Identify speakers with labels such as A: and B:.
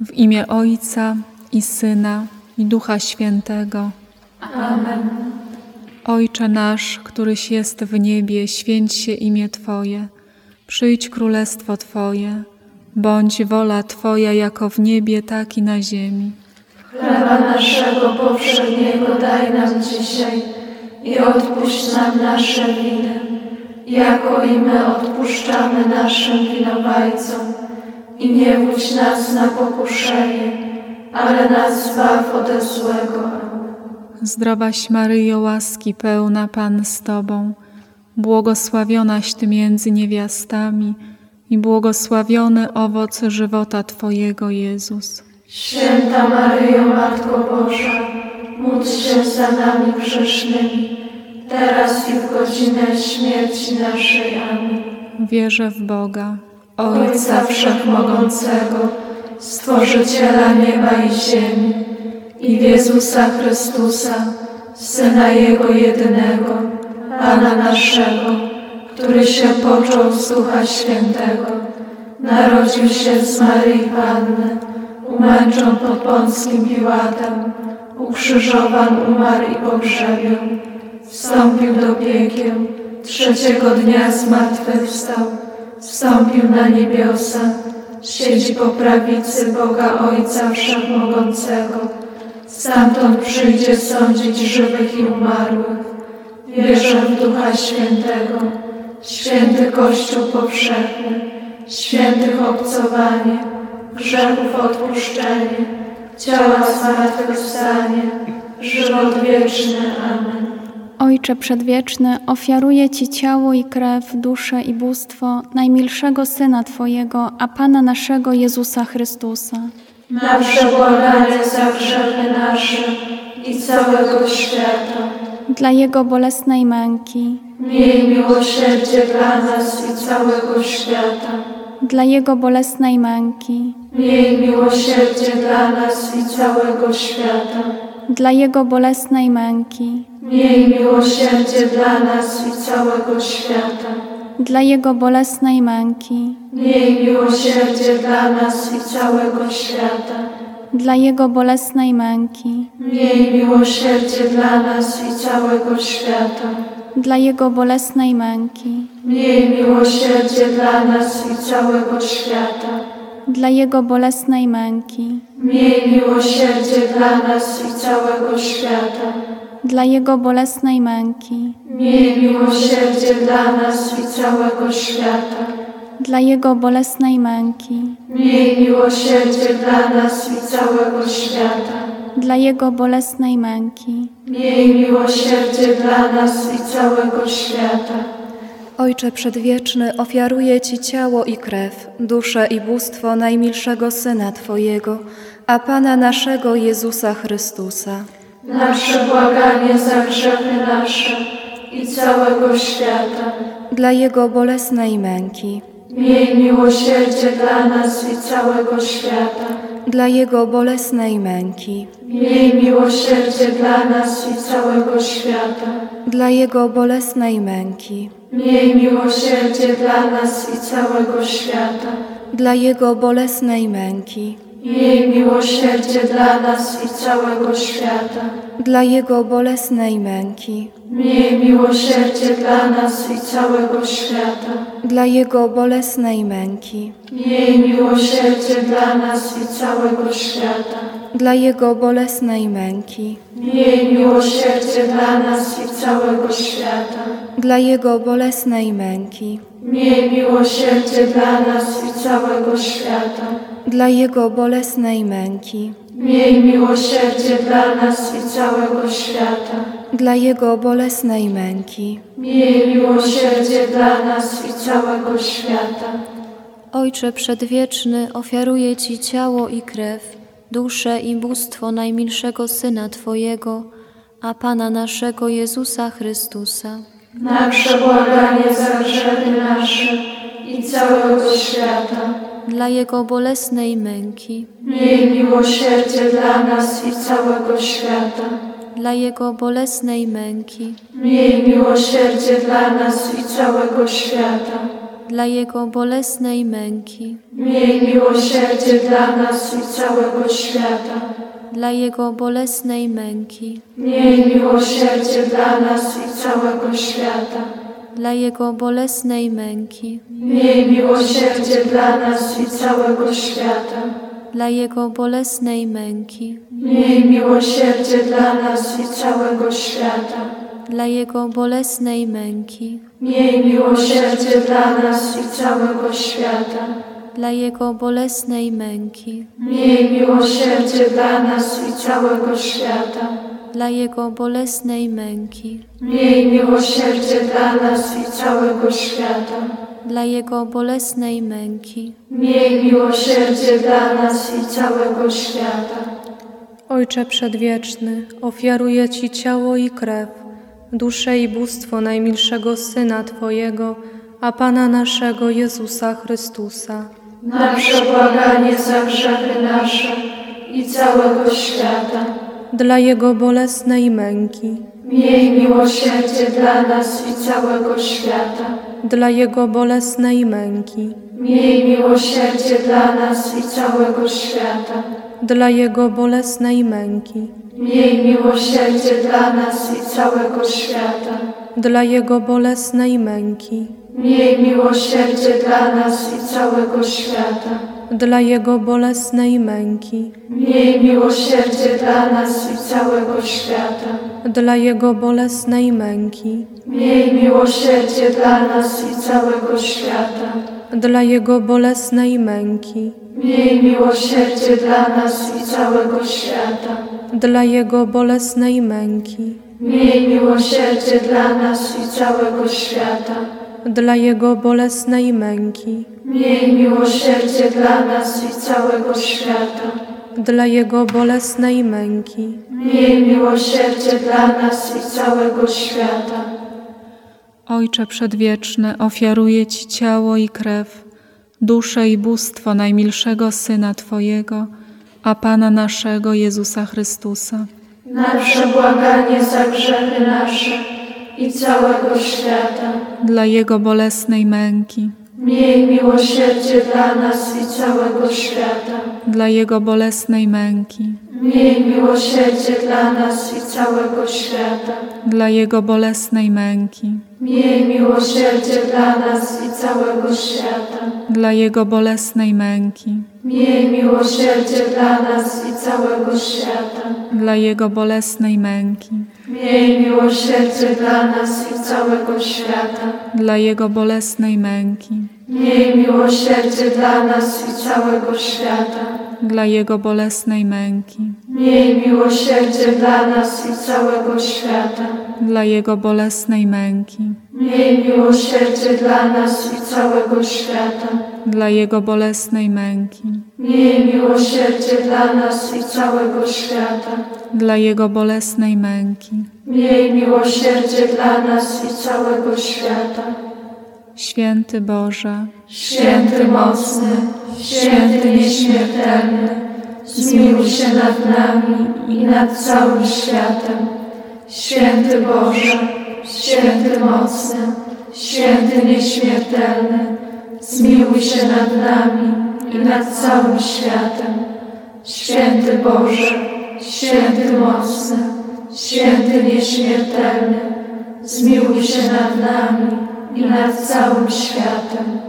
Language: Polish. A: W imię Ojca i Syna i Ducha Świętego. Amen. Ojcze nasz, któryś jest w niebie, święć się imię Twoje. Przyjdź królestwo Twoje. Bądź wola Twoja jako w niebie, tak i na ziemi.
B: Chleba naszego powszedniego daj nam dzisiaj i odpuść nam nasze winy, jako i my odpuszczamy naszym winowajcom. I nie wódź nas na pokuszenie, ale nas zbaw ode złego.
A: Zdrowaś Maryjo, łaski pełna Pan z Tobą, błogosławionaś Ty między niewiastami i błogosławiony owoc żywota Twojego Jezus.
B: Święta Maryjo, Matko Boża, módl się za nami grzesznymi, teraz i w godzinę śmierci naszej. Amen.
A: Wierzę w Boga,
B: Ojca Wszechmogącego, Stworzyciela nieba i ziemi, i w Jezusa Chrystusa, Syna Jego jedynego, Pana naszego, który się począł z Ducha Świętego, narodził się z Maryi Panny, umęczon pod Pąckim Piłatem, ukrzyżowan, umarł i pogrzebion, wstąpił do piekieł, trzeciego dnia zmartwychwstał, wstąpił na niebiosa, siedzi po prawicy Boga Ojca Wszechmogącego, stamtąd przyjdzie sądzić żywych i umarłych. Wierzę w Ducha Świętego, święty Kościół powszechny, świętych obcowanie, grzechów odpuszczenie, ciała zmartwychwstanie, żywot wieczny. Amen.
C: Ojcze Przedwieczny, ofiaruję Ci ciało i krew, duszę i bóstwo najmilszego Syna Twojego, a Pana naszego Jezusa Chrystusa.
B: na przebłaganie za grzechy nasze i całego świata.
C: Dla Jego bolesnej męki,
B: Miej miłosierdzie dla nas i całego świata.
C: dla Jego bolesnej męki,
B: Miej miłosierdzie dla nas i całego świata.
C: dla Jego bolesnej męki,
B: Miej miłosierdzie dla nas i całego świata.
C: dla Jego bolesnej męki,
B: Miej miłosierdzie dla nas i całego świata.
C: dla Jego bolesnej męki,
B: Miej miłosierdzie dla nas i całego świata.
C: dla Jego bolesnej męki,
B: Miej miłosierdzie dla nas i całego świata.
C: dla Jego bolesnej męki,
B: Miej miłosierdzie dla nas i całego świata.
C: dla Jego bolesnej męki,
B: Miej miłosierdzie dla nas i całego świata.
C: dla Jego bolesnej męki.
B: Miej miłosierdzie dla nas i całego świata.
C: dla Jego bolesnej męki,
B: Miej miłosierdzie dla nas i całego świata.
D: Ojcze Przedwieczny, ofiaruję Ci ciało i krew, duszę i bóstwo najmilszego Syna Twojego, a Pana naszego Jezusa Chrystusa,
B: Nasze błaganie za grzechy nasze i całego świata.
D: dla Jego bolesnej męki,
B: Miej miłosierdzie dla nas i całego świata.
D: dla Jego bolesnej męki,
B: Miej miłosierdzie dla nas i całego świata.
D: dla Jego bolesnej męki,
B: Miej miłosierdzie dla nas i całego świata.
D: dla Jego bolesnej męki,
B: Miej miłosierdzie dla nas i całego świata.
D: dla Jego bolesnej męki,
B: Miej miłosierdzie dla nas i całego świata.
D: dla Jego bolesnej męki,
B: Miej miłosierdzie dla nas i całego świata.
D: dla Jego bolesnej męki,
B: Miej miłosierdzie dla nas i całego świata.
D: dla Jego bolesnej męki.
B: Miej miłosierdzie dla nas i całego świata.
D: dla Jego bolesnej męki,
B: Miej miłosierdzie dla nas i całego świata.
D: dla Jego bolesnej męki.
B: Miej miłosierdzie dla nas i całego świata.
E: Ojcze Przedwieczny, ofiaruję Ci ciało i krew, duszę i bóstwo najmilszego Syna Twojego, a Pana naszego Jezusa Chrystusa,
B: Na przebłaganie za grzechy nasze i całego świata.
E: dla Jego bolesnej męki,
B: Miej miłosierdzie dla nas i całego świata.
E: dla Jego bolesnej męki,
B: Miej miłosierdzie dla nas i całego świata.
E: dla Jego bolesnej męki,
B: Miej miłosierdzie dla nas i całego świata.
E: dla Jego bolesnej męki,
B: Miej miłosierdzie dla nas i całego świata.
E: dla Jego bolesnej męki,
B: Miej miłosierdzie dla nas i całego świata.
E: dla Jego bolesnej męki,
B: Miej miłosierdzie dla nas i całego świata.
E: dla Jego bolesnej męki,
B: Miej miłosierdzie dla nas i całego świata.
E: dla Jego bolesnej męki,
B: Miej miłosierdzie dla nas i całego świata.
E: dla Jego bolesnej męki,
B: Miej miłosierdzie dla nas i całego świata.
E: dla Jego bolesnej męki.
B: Miej miłosierdzie dla nas i całego świata.
F: Ojcze Przedwieczny, ofiaruję Ci ciało i krew, duszę i bóstwo najmilszego Syna Twojego, a Pana naszego Jezusa Chrystusa,
B: na przebłaganie za grzechy nasze i całego świata.
F: dla Jego bolesnej męki,
B: Miej miłosierdzie dla nas i całego świata.
F: dla Jego bolesnej męki,
B: Miej miłosierdzie dla nas i całego świata.
F: dla Jego bolesnej męki,
B: Miej miłosierdzie dla nas i całego świata.
F: dla Jego bolesnej męki,
B: Miej miłosierdzie dla nas i całego świata.
F: dla Jego bolesnej męki,
B: Miej miłosierdzie dla nas i całego świata.
F: dla Jego bolesnej męki,
B: Miej miłosierdzie dla nas i całego świata.
F: dla Jego bolesnej męki,
B: Miej miłosierdzie dla nas i całego świata.
F: dla Jego bolesnej męki.
B: Miej miłosierdzie dla nas i całego świata.
F: dla Jego bolesnej męki,
B: Miej miłosierdzie dla nas i całego świata.
F: dla Jego bolesnej męki,
B: Miej miłosierdzie dla nas i całego świata.
A: Ojcze Przedwieczny, ofiaruję Ci ciało i krew, duszę i bóstwo najmilszego Syna Twojego, a Pana naszego Jezusa Chrystusa,
B: Na przebłaganie za grzechy nasze i całego świata.
A: dla Jego bolesnej męki,
B: Miej miłosierdzie dla nas i całego świata.
A: dla Jego bolesnej męki,
B: Miej miłosierdzie dla nas i całego świata.
A: dla Jego bolesnej męki,
B: Miej miłosierdzie dla nas i całego świata.
A: dla Jego bolesnej męki,
B: Miej miłosierdzie dla nas i całego świata.
A: dla Jego bolesnej męki,
B: Miej miłosierdzie dla nas i całego świata.
A: dla Jego bolesnej męki,
B: Miej miłosierdzie dla nas i całego świata.
A: dla Jego bolesnej męki,
B: Miej miłosierdzie dla nas i całego świata.
A: dla Jego bolesnej męki,
B: Miej miłosierdzie dla nas i całego świata.
A: dla Jego bolesnej męki.
B: Miej miłosierdzie dla nas i całego świata.
A: dla Jego bolesnej męki.
B: Miej miłosierdzie dla nas i całego świata.
A: Święty Boże,
B: Święty mocny, święty nieśmiertelny, zmiłuj się nad nami i nad całym światem. Święty Boże, święty mocny, święty nieśmiertelny, zmiłuj się nad nami i nad całym światem. Święty Boże, święty mocny, święty nieśmiertelny, zmiłuj się nad nami i nad całym światem.